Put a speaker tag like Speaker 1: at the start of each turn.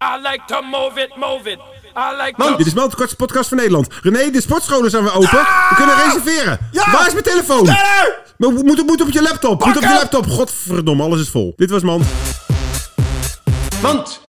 Speaker 1: I like to move it, move it. I like
Speaker 2: Man,
Speaker 1: to...
Speaker 2: Dit is wel de kortste podcast van Nederland. René, de sportscholen zijn weer open. We kunnen reserveren.
Speaker 3: Ja!
Speaker 2: Waar is mijn telefoon?
Speaker 3: Sneller!
Speaker 2: Maar Moet, moet, moet op je laptop. Moet op je
Speaker 3: hem!
Speaker 2: laptop. Godverdomme, alles is vol. Dit was man.
Speaker 3: Mand!